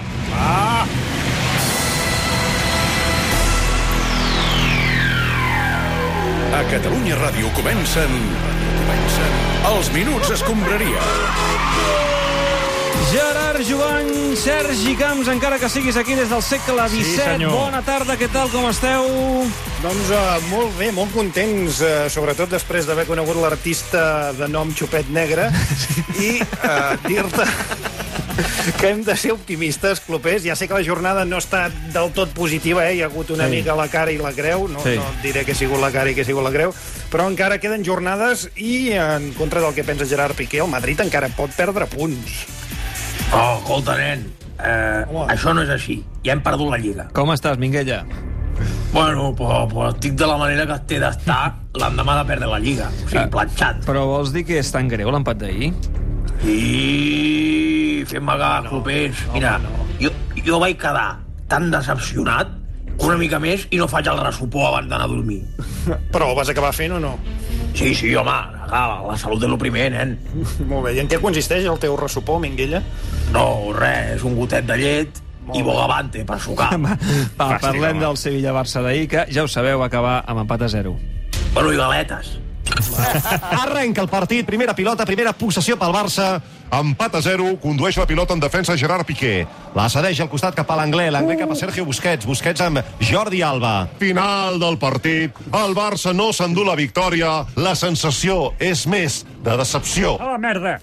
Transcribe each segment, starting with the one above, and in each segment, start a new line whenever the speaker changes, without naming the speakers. Ah. A Catalunya Ràdio comencen... comencen... Els Minuts Escombraria.
Gerard Joan, Sergi Camps, encara que siguis aquí des del segle XVII.
senyor.
Bona tarda, què tal, com esteu?
Doncs uh, molt bé, molt contents, uh, sobretot després d'haver conegut l'artista de nom Xupet Negre i uh, dir-te que hem de ser optimistes, clopers. Ja sé que la jornada no està del tot positiva, eh? hi ha hagut una sí. mica la cara i la creu, no,
Sí.
sí. no diré que ha sigut la cara i que ha sigut la creu, però encara queden jornades i, en contra del que pensa Gerard Piqué, el Madrid encara pot perdre punts.
Oh, escolta, nen, eh,
Home.
això no és així. Ja hem perdut la Lliga.
Com estàs, Minguella?
Bueno, però, però estic de la manera que té d'estar l'endemà de perdre la Lliga. O sigui, planxat.
Ah, Però vols dir que és tan greu l'empat d'ahir?
I fent-me cagar, no, clopers. Mira, jo, jo vaig quedar tan decepcionat una mica més i no faig el ressupor abans d'anar a dormir.
Però ho vas acabar fent o no?
Sí, sí, home, ah, la salut és el primer, nen.
Molt bé, i en què consisteix el teu ressupor, Minguella?
No, res, un gotet de llet i bogavante per sucar.
Va, va
Fàstic,
parlem
home.
del Sevilla-Barça d'ahir, que ja ho sabeu, va acabar amb empat a 0.
bueno, i galetes.
Arrenca el partit, primera pilota, primera possessió pel Barça.
Empat a 0, condueix la pilota en defensa Gerard Piqué.
La cedeix al costat cap a l'anglès, l'anglès cap a Sergio Busquets, Busquets amb Jordi Alba.
Final del partit, el Barça no s'endú la victòria, la sensació és més de decepció.
A la merda!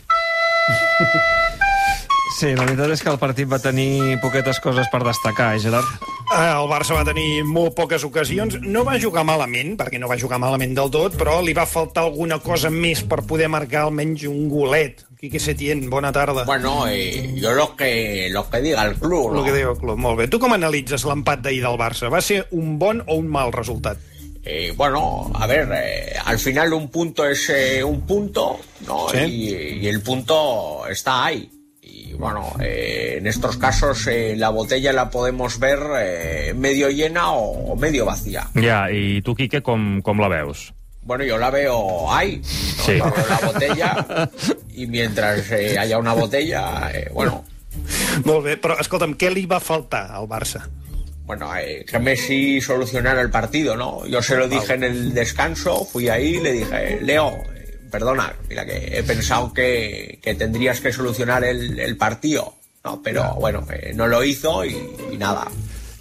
Sí, la veritat és que el partit va tenir poquetes coses per destacar, eh, Gerard?
Ah, El Barça va tenir molt poques ocasions. No va jugar malament, perquè no va jugar malament del tot, però li va faltar alguna cosa més per poder marcar almenys un golet. Quique Setién, bona tarda. Bueno,
Bueno, eh, yo lo que, lo que diga el club. ¿no?
el que deia el club. Molt bé. Tu com analitzes l'empat d'ahir del Barça? Va ser un bon o un mal resultat?
Eh, bueno, a ver, eh, al final un punto es eh, un punto, ¿no?
Sí.
Y, y el punto está ahí. Y bueno, eh, en estos casos eh, la botella la podemos ver eh, medio llena o, o medio vacía.
Ja, i tu, Quique, com, com la veus?
Bueno, yo la veo ahí. ¿no?
Sí.
La veo la botella. Y mientras eh, haya una botella, eh, bueno,
Molt bé, però escolta'm, què li va faltar al Barça?
Bueno, eh, que Messi solucionara el partido, ¿no? Yo se lo dije en el descanso, fui ahí y le dije, Leo, eh, perdona, mira que he pensado que, que tendrías que solucionar el, el partido, ¿no? Pero bueno, eh, no lo hizo y, y nada.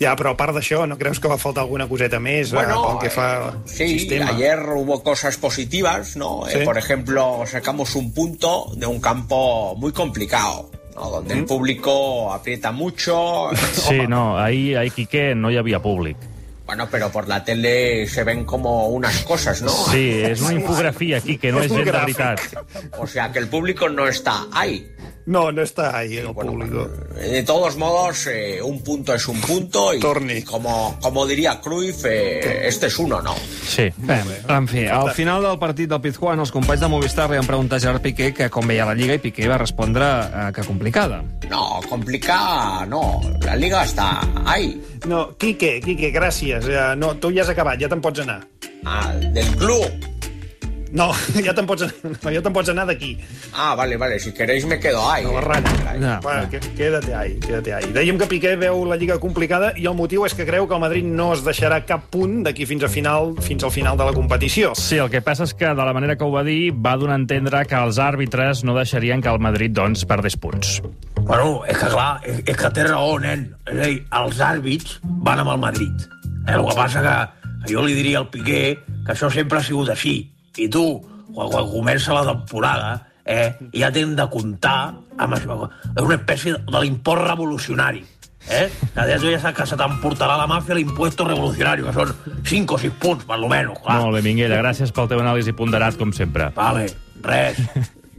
Ja, però a part d'això, no creus que va faltar alguna coseta més eh,
Bueno,
pel que fa
eh,
al
sí,
sistema?
ayer hubo cosas positivas, ¿no? Eh,
Sí.
por ejemplo, sacamos un punto de un campo muy complicado, ¿no? Donde
¿Mm?
el público aprieta mucho.
Sí, no, ahir, ahir Quique, no hi havia públic.
Bueno, pero por la tele se ven como unas cosas, ¿no?
Sí, és una infografia, Quique, no
És
és
un
gent de
gràfic.
veritat.
O sea que el público no está ahí.
No, no està ahí, el
Bueno, eh,
público.
de todos modos, eh, un punto es un punto y,
Torni.
y como, como diría Cruyff, eh, este es uno, ¿no?
Sí.
Bé, en fi, al final del partit del Pizjuán, els companys de Movistar li van preguntar a Gerard Piqué que com veia la Lliga i Piqué va respondre eh, que complicada.
No, complicada, no. La liga está ahí.
No, Quique, Quique, gràcies. Eh, No, tu ja has acabat, ja te'n pots anar.
Ah, del club.
No, ja te'n pots, no, ja te'n pots anar d'aquí,
Ah, vale, vale, si queréis me quedo ahí.
a la ràdio.
No,
No, bueno, que, quédate ahí, quédate ahí. Dèiem que Piqué veu la Lliga complicada i el motiu és que creu que el Madrid no es deixarà cap punt d'aquí fins a final fins al final de la competició.
Sí, el que passa és que, de la manera que ho va dir, va donar a entendre que els àrbitres no deixarien que el Madrid, doncs, perdés punts.
Bueno, eh, és que clar, és, és que té raó, nen. És a dir, els àrbits van amb el Madrid. Eh, el que passa que jo li diria al Piqué que això sempre ha sigut així. I tu, quan, quan comença la temporada, eh, ja t'hem de comptar amb això. És una espècie de l'import revolucionari. Eh? Que ja tu ja saps que se t'emportarà la màfia l'impuesto revolucionari, que són 5 o 6 punts, per lo menos, clar.
Molt bé, Minguella, gràcies pel teu anàlisi ponderat, com sempre.
Vale, res.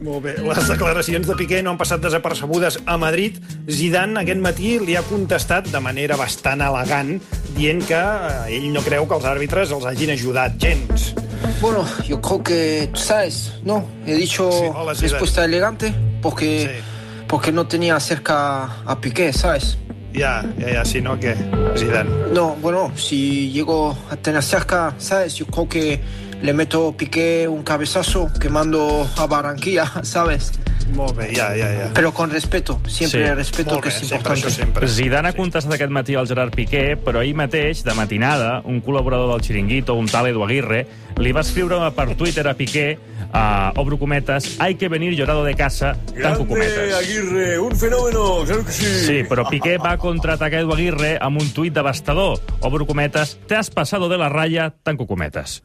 Molt bé, les declaracions de Piqué no han passat desapercebudes a Madrid. Zidane aquest matí li ha contestat de manera bastant elegant dient que eh, ell no creu que els àrbitres els hagin ajudat gens.
Bueno, yo creo que, tú sabes, ¿no? He dicho
Sí, hola, Zidane.
respuesta elegante porque, porque no tenía cerca a Piqué, ¿sabes?
Ja, ja, ja, si no, què, Zidane?
No, bueno, si llego a tener cerca, ¿sabes? Yo creo que le meto Piqué un cabezazo que mando a Barranquilla, ¿sabes?
Molt bé, ja, ja, ja.
Pero con respeto, siempre
Sí.
respeto
Molt
que
bé,
es
sempre,
importante.
això sempre.
Zidane ha contestat aquest matí al Gerard Piqué, però ahir mateix, de matinada, un col·laborador del Chiringuito, un tal Edu Aguirre, li va escriure per Twitter a Piqué, a obro cometes, hay que venir llorado de casa, tanco cometes.
Aguirre, un fenómeno, claro que sí.
Sí, però Piqué va contraatacar Edu Aguirre amb un tuit devastador. Obro cometes, te has pasado de la raya, tanco cometes.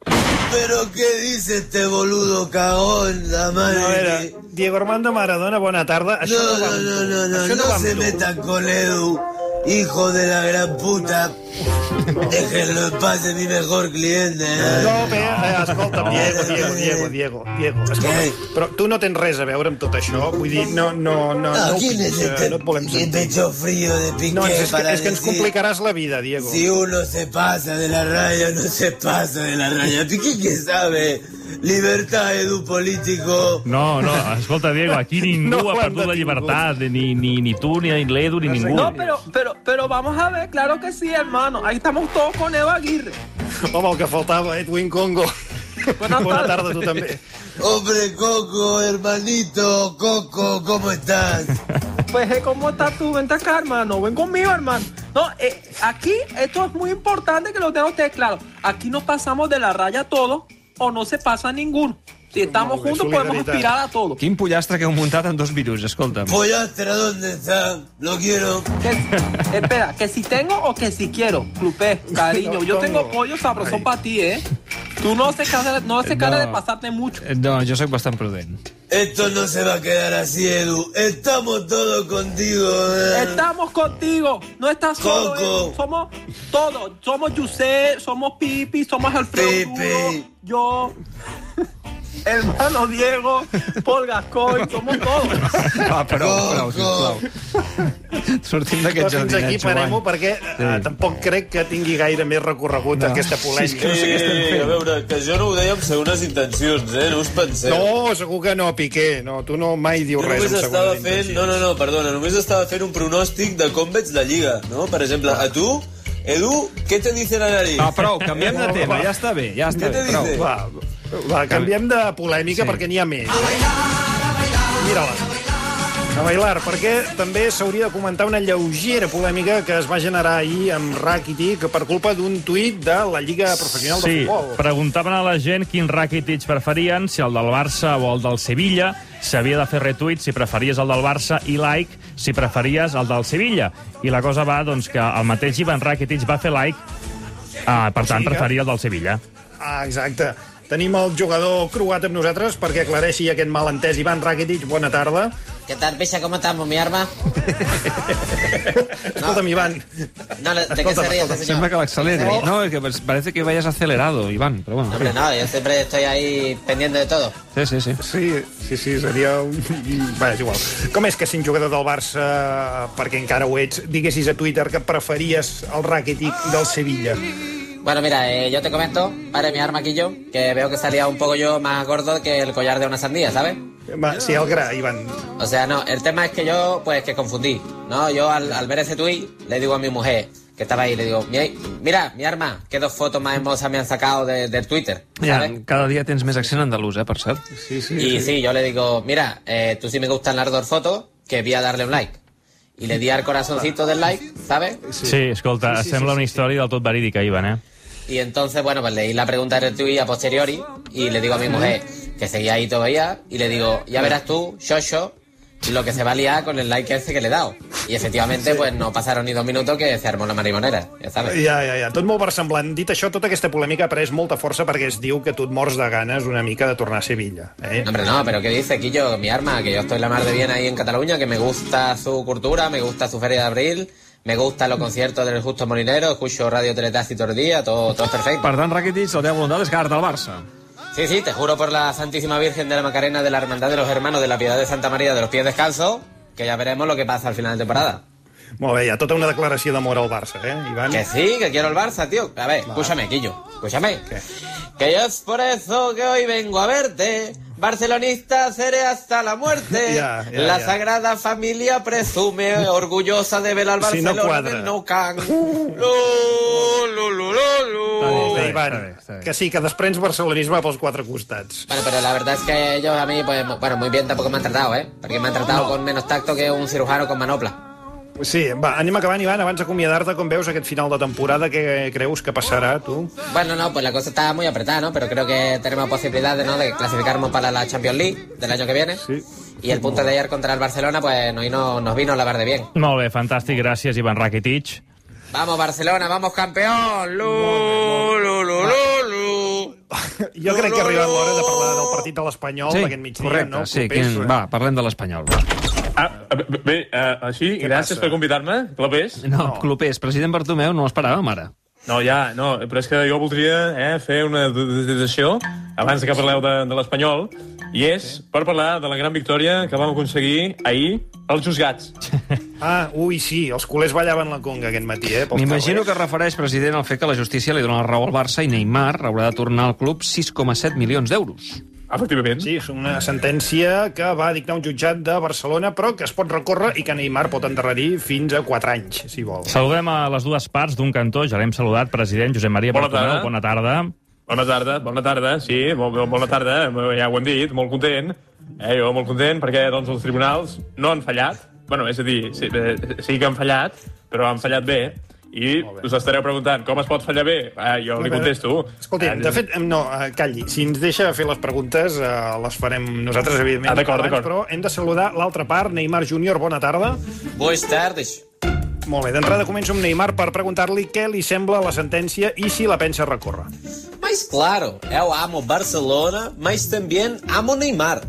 Pero qué dice este boludo cagón, la madre.
No, a veure,
que-
Diego Armando Maradona, bona tarda. Això
No,
no, va
no,
amb
no,
tu.
no, no,
Això
no,
va amb
se
tu.
metan con Edu, hijo de la gran puta. Déjenlo en paz, es mi mejor cliente. eh.
No, bé, eh, escolta,
No.
Diego, Diego, Diego, Diego, Diego, escolta,
Ei.
però tu no tens res a veure amb tot això, vull dir, no, no, no,
Ah,
no, ho
¿quién es
pitja,
este
no et volem
de
sentir.
pecho frío de piqué
No, és, que,
para
és que ens
decir,
complicaràs la vida, Diego.
Si uno se pasa de la raya, no se pasa de la raya. Piqué, ¿qué sabe? Libertad, Edu político.
No, no, escolta, Diego, aquí ningú
No
no ha
l'han
perdut la
detingut.
llibertat, ni, ni, ni tu, ni l'Edu, ni ningú.
No, pero, pero, pero vamos a ver, claro que sí, hermano. Ahí estamos todos con Eva Aguirre.
Home, el que faltava, Edwin Congo.
Bona
Bona
tarda.
tarda, tu també.
Hombre, Coco, hermanito, Coco, ¿cómo estás?
Pues, eh, ¿cómo estás tú? Vente acá, hermano. Ven conmigo, hermano. No, eh, aquí esto es muy importante que lo tengan ustedes claro. Aquí nos pasamos de la raya todos o no se pasa ninguno. Si estamos
Muy bien,
juntos podemos
solidaridad.
aspirar a todo.
Quin pollastre que heu muntat en dos virus, escolta'm.
Pollastra, ¿dónde está? Lo quiero.
Que- espera, que si tengo o que si quiero. Clupé, cariño.
No,
yo
¿cómo?
tengo pollo sabrosón
Ay.
para ti, ¿eh? Tú no se cara, no se cara
No.
de pasarte mucho.
Eh, No, jo sóc bastant prudent.
Esto no se va a quedar así, Edu. Estamos todos contigo. eh.
Estamos contigo, no estás solo.
Coco.
eh. Somos todos. Somos Yusef, somos Pipi, somos Alfredo.
Pipi.
Duro, yo, hermano Diego, Paul Gascoigne, somos todos.
Va, prou, prou, sisplau. Sortim d'aquest
Però fins
jardinet,
aquí parem-ho,
Joan.
perquè sí. eh, tampoc crec que tingui gaire més recorregut no. aquesta
Sí, és que
polèmica.
no sé què estem
Eh, a
fent.
veure, que jo no ho deia amb segones intencions, eh? No us penseu.
No, segur que no, Piqué. No, tu no mai dius
Jo
res
només
amb
estava
segona
fent... No, no, no, perdona. Només estava fent un pronòstic de com veig la Lliga, no? Per exemple, a tu, Edu, què te dice la nariz?
Va, Ah, prou, canviem de tema, ja està bé, ja està
Què
bé,
te
prou.
dice?
Va, va, canviem de polèmica
Sí.
sí. perquè n'hi ha més. Mira-la. A bailar, perquè també s'hauria de comentar una lleugera polèmica que es va generar ahir amb Rakitic per culpa d'un tuit de la Lliga Professional
Sí,
de Futbol.
preguntaven a la gent quin Rakitic preferien, si el del Barça o el del Sevilla. S'havia de fer retuit si preferies el del Barça i like si preferies el del Sevilla. I la cosa va, doncs, que el mateix Ivan Rakitic va fer like, uh, per tant,
sigui que-
preferia el del Sevilla.
Ah, exacte. Tenim el jugador croat amb nosaltres perquè aclareixi aquest malentès. Ivan Rakitic, bona tarda.
¿Qué tal, Pisa? ¿Cómo estamos, mi arma?
Escolta'm, Ivan.
No, no, ¿de qué
Escolta'm,
se ríe este
escolta'm.
señor?
Sembla que l'accelera. ¿eh? No, es que parece que vayas acelerado, Iván, però bueno.
Hombre, ¿eh? no, yo siempre estoy ahí pendiente de todo.
Sí, sí, sí.
Sí, sí, sí, seria un... Va, és igual. Com és que sent jugador del Barça, perquè encara ho ets, diguessis a Twitter que preferies el Rakitic del Sevilla?
Bueno, mira, eh, yo te comento, para mi arma aquí yo, que veo que salía un poco yo más gordo que el collar de una sandía, ¿sabes?
Va, sí, el gra, Ivan.
O sea, no, el tema es que yo, pues, que confundí, ¿no? Yo al, al ver ese tuit, le digo a mi mujer, que estaba ahí, le digo, "Mi- mira, mi arma, qué dos fotos más hermosas me han sacado de- del Twitter,
Ja,
¿sabes?
cada dia tens més accent andalús, eh, per cert. Sí, sí.
Y sí, yo le digo, mira, eh, tú sí me gustan las dos fotos, que voy a darle un like. Y le di al corazoncito del like, ¿sabes?
Sí, escolta, sí, sí, sembla sí, una història del tot verídica, Ivan, eh?
Y entonces, bueno, pues leí la pregunta del tuit a posteriori y le digo a mi mujer que seguía ahí todavía y le digo, ya verás tú, Shosho, lo que se va a liar con el like ese que le he dado. Y efectivamente, pues no pasaron ni dos minutos que se armó la marimonera, ya sabes.
Ja, ja, ja. Tot molt versemblant. Dit això, tota aquesta polèmica ha pres molta força perquè es diu que tu et mors de ganes una mica de tornar a Sevilla. Eh?
Hombre, no, pero ¿qué dice Quillo? Mi arma, que yo estoy la mar de bien ahí en Cataluña, que me gusta su cultura, me gusta su feria de abril, me gustan los conciertos del Justo Molinero, escucho Radio Teletasi todo el día, todo, todo es perfecto.
Per tant, Rakitic, la teva voluntat és quedar-te al Barça.
Sí, sí, te juro por la Santísima Virgen de la Macarena de la Hermandad de los Hermanos de la Piedad de Santa María de los Pies Descalzos, que ya veremos lo que pasa al final de temporada.
Molt bé, hi ha tota una declaració d'amor al Barça, eh, Ivan?
Que sí, que quiero el Barça, tío. A ver, escúchame, Quillo, escúchame. Que yo es por eso que hoy vengo a verte, Barcelonista seré hasta la muerte.
Ya, ya,
la
ya.
Sagrada Familia presume orgullosa de velar al
Si no
Barcelona
quadra.
del Nou Camp. Lo, lo, lo, lo, lo.
Bé, Ivan, que sí, que desprens barcelonisme pels quatre costats.
Bueno, pero la verdad es que ellos a mí, pues, bueno, muy bien tampoco me han tratado, ¿eh? Porque me han tratado con menos tacto que un cirujano con manopla.
Sí, va, anem acabant, Ivan, abans d'acomiadar-te, com veus aquest final de temporada, què creus que passarà, tu?
Bueno, no, pues la cosa está muy apretada, ¿no? Pero creo que tenemos posibilidades, ¿no? De clasificarnos para la Champions League del año que viene. Y el punto de ayer contra el Barcelona, pues no, no- nos vino la par de bien.
Molt bé, fantàstic, gràcies, Ivan Rakitic.
Vamos Barcelona, vamos campeón. Lu, lu, lu, lu, lu.
Jo crec que ha arribat l'hora de parlar del partit de l'Espanyol
Sí,
d'aquest migdia,
correcte,
no?
sí,
Propers,
quin-
eh?
va, parlem de l'Espanyol. va.
Bé, uh, així,
Què
gràcies
passa?
per convidar-me, Clapés.
No, no. Clopés, president Bartomeu, no l'esperàvem ara.
No, ja, no, però és que jo voldria eh, fer una detecció abans que parleu de, de l'Espanyol, i és per parlar de la gran victòria que vam aconseguir ahir als Josgats.
Ah, ui, sí, els culers ballaven la conga aquest matí, eh? pels
M'imagino que
carrers.
es refereix, president, al fet que la justícia li dona la raó al Barça i Neymar haurà de tornar al club 6,7 milions d'euros.
Efectivament.
Sí, és una sentència que va dictar un jutjat de Barcelona, però que es pot recórrer i que Neymar pot endarrerir fins a 4 anys, si vol.
Saludem a les dues parts d'un cantó, ja l'hem saludat, president Josep Maria
Bona
Bartomeu,
tarda.
bona tarda.
Bona tarda, bona tarda, sí, bo- bo- bona tarda, ja ho hem dit, molt content. Eh, jo molt content perquè doncs, els tribunals no han fallat, bueno, és a dir, sí, eh, sí que han fallat, però han fallat bé, i us estareu preguntant com es pot fallar bé? Ah, jo li
veure,
contesto.
Escolti,
Ah,
de fet, em, no, eh, calli. Si ens deixa fer les preguntes, eh, les farem nosaltres, evidentment.
Ah, d'acord,
abans,
d'acord.
Però hem de saludar l'altra part, Neymar Júnior, bona tarda.
Buenas tardes.
Molt bé, d'entrada començo amb Neymar per preguntar-li què li sembla la sentència i si la pensa recórrer.
Mas claro, eu amo Barcelona, mas também amo Neymar.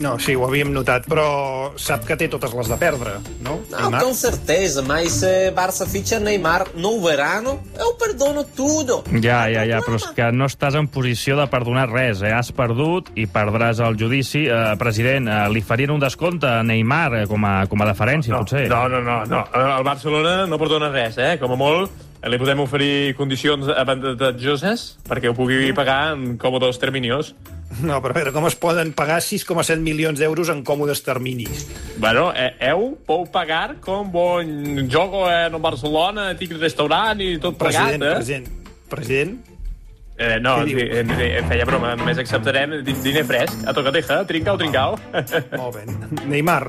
No, sí, ho havíem notat, però sap que té totes les de perdre, no?
Não, com certeza, mas se Barça ficha Neymar no verano, eu perdono tudo.
Ja, ja, ja, però és que no estàs en posició de perdonar res, eh? Has perdut i perdràs el judici. Eh, president, eh, li farien un descompte a Neymar eh, com a, com a deferència, no, potser?
No, no, Ah, no, no. El Barcelona no perdona res, eh? Com a molt, eh, li podem oferir condicions avantatjoses perquè ho pugui pagar en còmodos terminios.
No, però a veure, com es poden pagar 6,7 milions d'euros en còmodes terminis?
Bueno, eh, heu pou pagar com bon jogo eh, en Barcelona, tic restaurant i tot plegat,
President,
eh?
president, president.
Eh, no,
Què
di,
diu?
eh, eh, feia broma, només acceptarem di- diner fresc, a tocateja, trincau, trincau.
Molt bé. Oh, Neymar.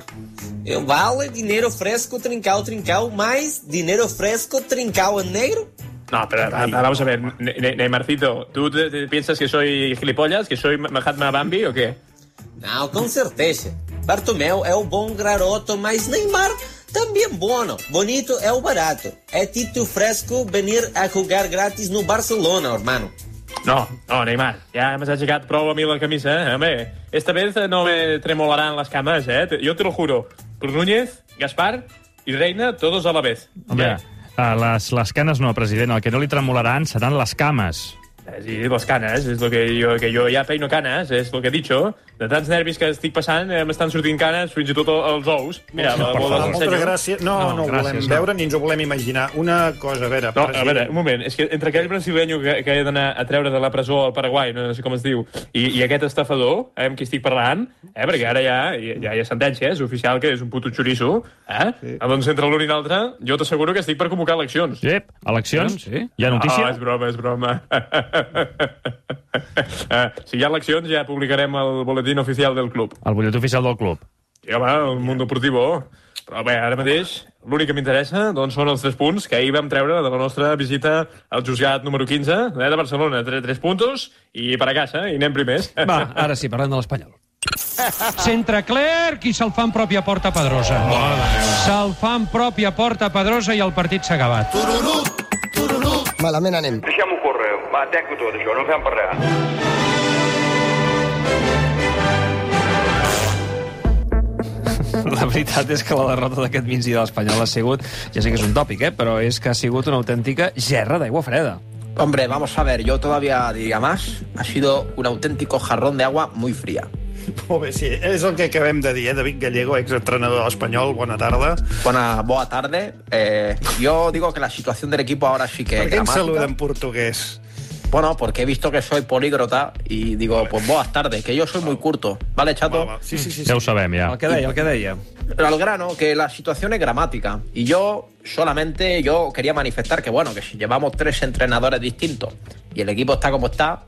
Eu vale dinheiro fresco, trincal, trincal, mas dinheiro fresco, trincal é negro?
No, pero a- a- vamos a ver, Ne- Ne- Neymarcito, ¿tú te- te piensas que soy gilipollas, que soy Mahatma Bambi o qué?
Não, com certeza. Bartomeu é o bom garoto, mas Neymar também bono. Bonito é o barato. É Tito Fresco venir a jogar grátis no Barcelona, hermano.
No, no, Neymar, ja m'has aixecat prou a mi la camisa, eh? Home, esta vez no me tremolaran les cames, eh? Te- Jo te lo juro. Cruz Núñez, Gaspar i Reina, todos a la vez.
Home, ja. eh, les, les canes no, president. El que no li tremolaran seran les cames.
Eh, Sí, les canes, és el que jo, que jo ja peino canes, és el que he dit jo. De tants nervis que estic passant, eh, m'estan sortint canes fins i tot als ous. Mira,
no,
la, la, la,
moltes gràcies. No, no, no ho volem
gràcies, no.
veure ni ens ho volem imaginar. Una cosa, a veure,
No, a veure, un moment, és que entre aquell brasileño que, que he d'anar a treure de la presó al Paraguai, no, sé com es diu, i, i aquest estafador, eh, amb qui estic parlant, eh, perquè ara ja, ja hi ha sentència, és oficial que és un puto xoriço, eh? Sí. Doncs entre l'un i l'altre, jo t'asseguro que estic per convocar eleccions.
Jep, eleccions?
Sí.
Hi ha notícia?
Oh, és broma, és broma. Eh, si hi ha eleccions, ja publicarem el boletín oficial del club.
El butlletí oficial del club.
Sí, home, el món deportivo. Però bé, ara mateix l'únic que m'interessa doncs, són els tres punts que ahir vam treure de la nostra visita al Josgat número 15 eh, de Barcelona. Tres, tres puntos i per a casa, i anem primers.
Va, ara sí, parlem de l'Espanyol.
Centre Clerc i se'l fan propi a porta Pedrosa. Se'l fan propi a porta Pedrosa i el partit s'ha acabat.
Malament anem.
Deixem-ho córrer. Va, tenc-ho tot, això. No en fem per res.
La veritat és que la derrota d'aquest migdia de l'Espanyol ha sigut, ja sé que és un tòpic, eh, però és que ha sigut una autèntica gerra d'aigua freda.
Hombre, vamos a ver, yo todavía diría más. Ha sido un auténtico jarrón de agua muy fría.
Molt bé, sí, és el que acabem de dir, eh? David Gallego, exentrenador de l'Espanyol, bona tarda.
Buena, boa tarde. Eh, yo digo que la situación del equipo ahora sí que...
Per què ens
dramática.
saluda en portuguès?
Bueno, porque he visto que soy polígrota y digo, pues buenas tardes, que yo soy muy curto. ¿Vale, chato?
Sí, sí, sí, ja ho sabem, ja.
El que deia, el que deia.
Al grano, que la situación es gramática. Y yo solamente yo quería manifestar que, bueno, que si llevamos tres entrenadores distintos y el equipo está como está,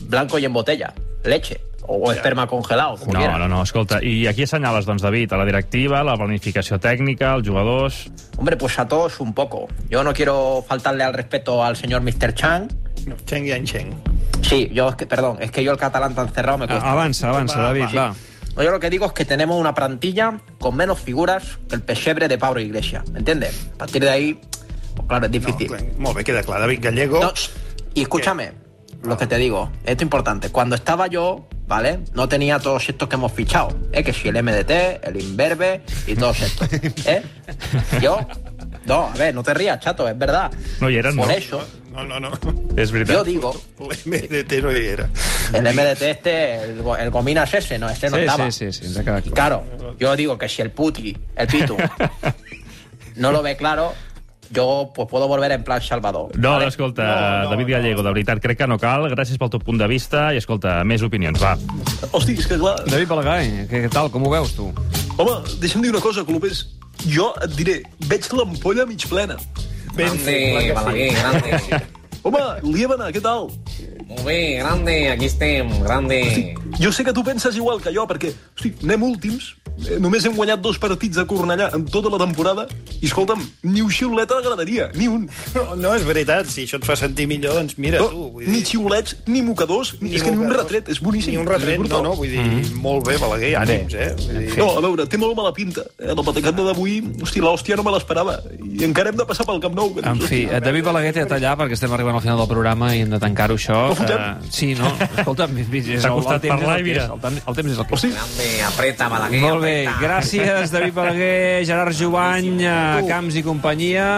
blanco y en botella, leche. O esperma congelado, como
No,
quiera.
no, no, escolta, i aquí assenyales, doncs, David, a la directiva, la planificació tècnica, els jugadors...
Hombre, pues a todos un poco. Yo no quiero faltarle al respeto al señor Mr. Chang.
Chang Yan Chang.
Sí, yo es que, perdón, es que yo el catalán tan cerrado me cuesta.
Avança, avança, David, va.
No, Yo lo que digo es que tenemos una plantilla con menos figuras que el pesebre de Pablo Iglesias, ¿me entiendes? A partir de ahí, pues claro, es difícil.
Molt bé, queda clar. David Gallego...
No, shh, y escúchame, lo que te digo, esto es importante. Cuando estaba yo, ¿vale? No tenía todos estos que hemos fichado. ¿eh? Que si el MDT, el Inverbe y todos estos. ¿eh? Yo, no, a ver, no te rías, chato, es verdad.
No hi eren,
Por
no.
eso,
No, no, no.
És veritat.
yo digo,
L'MDT no hi era.
el MDT este, el, go- el Gominas ese, no, este no
Sí,
estaba.
sí, sí, sí, ens ha quedat
Y
clar.
claro, yo digo que si el puti, el pitu, no lo ve claro, yo pues puedo volver en plan Salvador.
No, no, escolta, no, no, David Gallego, de veritat, crec que no cal. Gràcies pel teu punt de vista i, escolta, més opinions, va.
Hosti, és que clar...
David Balgai, què, què tal, com ho veus, tu?
Home, deixa'm dir una cosa, Clopés. Jo et diré, veig l'ampolla mig plena.
Ben
Grande, fet, clar que sí. Balaguer, grande.
Home, Liebana, què tal?
Molt bé, grande, aquí estem, grande.
Jo sé que tu penses igual que jo, perquè hosti, anem últims, eh, només hem guanyat dos partits a Cornellà en tota la temporada, i escolta'm, ni un xiulet a la graderia, ni un.
No, no és veritat, si això et fa sentir millor, doncs mira tu. Vull
Ni xiulets, ni mocadors, ni, és que ni un
mocadors,
retret, és boníssim.
Ni un retret,
És
no,
brutal.
no, vull dir, molt bé, Balaguer, ànims, eh? Vull dir,
No, a veure, té molt mala pinta. Eh? La patacada d'avui, hosti, l'hòstia no me l'esperava. I encara hem de passar pel Camp Nou. que
En
dius,
fi,
hosti,
eh, David Balaguer té de tallar perquè estem arribant al final del programa i hem de tancar-ho, això.
fotem?
Eh, sí, no? Escolta,
T'ha costat parlar i mira.
El, temps- el temps és el que és.
Grande, apreta, Balaguer,
Molt bé,
apreta.
gràcies, David Balaguer, Gerard Jovany, eh, Camps i companyia.